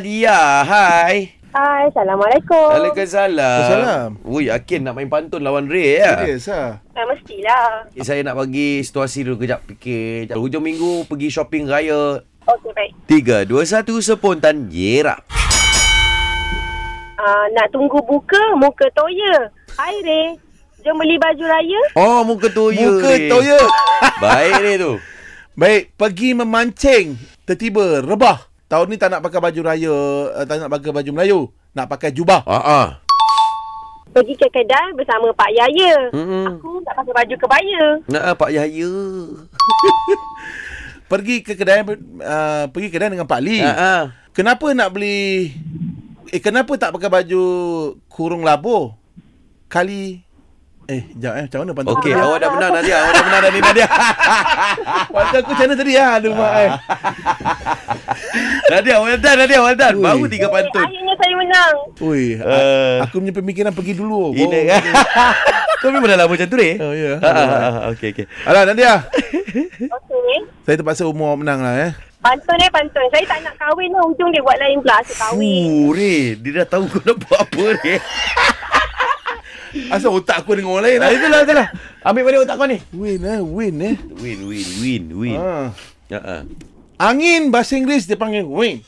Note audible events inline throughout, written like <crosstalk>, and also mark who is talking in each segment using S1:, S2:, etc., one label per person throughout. S1: Nadia, hai.
S2: Hai, Assalamualaikum.
S1: Waalaikumsalam.
S3: Waalaikumsalam.
S1: Ui, Akin nak main pantun lawan Ray ya.
S3: Serius lah
S2: Eh, mestilah.
S1: Eh, saya nak bagi situasi dulu kejap fikir. Kejap. Hujung minggu pergi shopping raya.
S2: Okey, baik.
S1: 3, 2, 1, spontan. Yera.
S2: Uh, nak tunggu buka, muka toya. Hai, Reh. Jom beli baju raya.
S1: Oh, muka toya.
S3: Muka
S1: Ray.
S3: toya
S1: <laughs> Baik Ray tu.
S3: Baik Pergi memancing Tiba-tiba Rebah Tahun ni tak nak pakai baju raya eh, Tak nak pakai baju Melayu Nak pakai jubah
S1: Ah ah.
S2: Pergi ke kedai bersama Pak Yaya.
S1: Mm-mm.
S2: Aku nak pakai baju kebaya.
S1: Nak ah, Pak Yahya.
S3: Pergi ke kedai uh, Pergi kedai dengan Pak Lee
S1: Ah ah.
S3: Kenapa nak beli Eh kenapa tak pakai baju Kurung labu Kali Eh jap eh Macam mana pantau
S1: Okey, awak dah menang Nadia. Awak dah menang dah ni <laughs> Nadia.
S3: Pantau aku macam mana tadi ah, Aduh mak
S1: <laughs>
S3: eh
S1: Nadia, well done Nadia, well done.
S3: Ui.
S1: Baru tiga
S2: Eh,
S1: pantun.
S2: akhirnya saya menang.
S3: Ui
S1: Eh.
S3: uh, Aku punya pemikiran pergi dulu
S1: Ini
S3: Baru-
S1: kan. <laughs> Kau memang dah lama macam tu, Ray.
S3: Oh ya
S1: Ah, ah, ah, ah. Okey, okey.
S3: Alah Nadia
S2: Okey. eh.
S3: Saya terpaksa umur awak menang lah eh.
S2: Pantun eh, pantun. Saya tak nak kahwin lah. Ujung dia buat lain pula. Saya kahwin.
S1: Fuh, Ray. Uh, Dia dah tahu kau nak buat apa, Ray.
S3: <laughs> Asal otak aku dengan orang lain lah.
S1: Ah, itulah, itulah. Ambil balik otak kau ni.
S3: Win eh, win eh.
S1: Win, win, win, win. Ha.
S3: Ha.
S1: Uh-uh.
S3: Angin bahasa Inggeris dia
S1: <laughs>
S3: panggil win.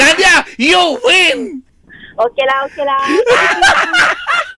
S3: Nadia, you win.
S1: Hmm.
S2: Okey lah, okey lah.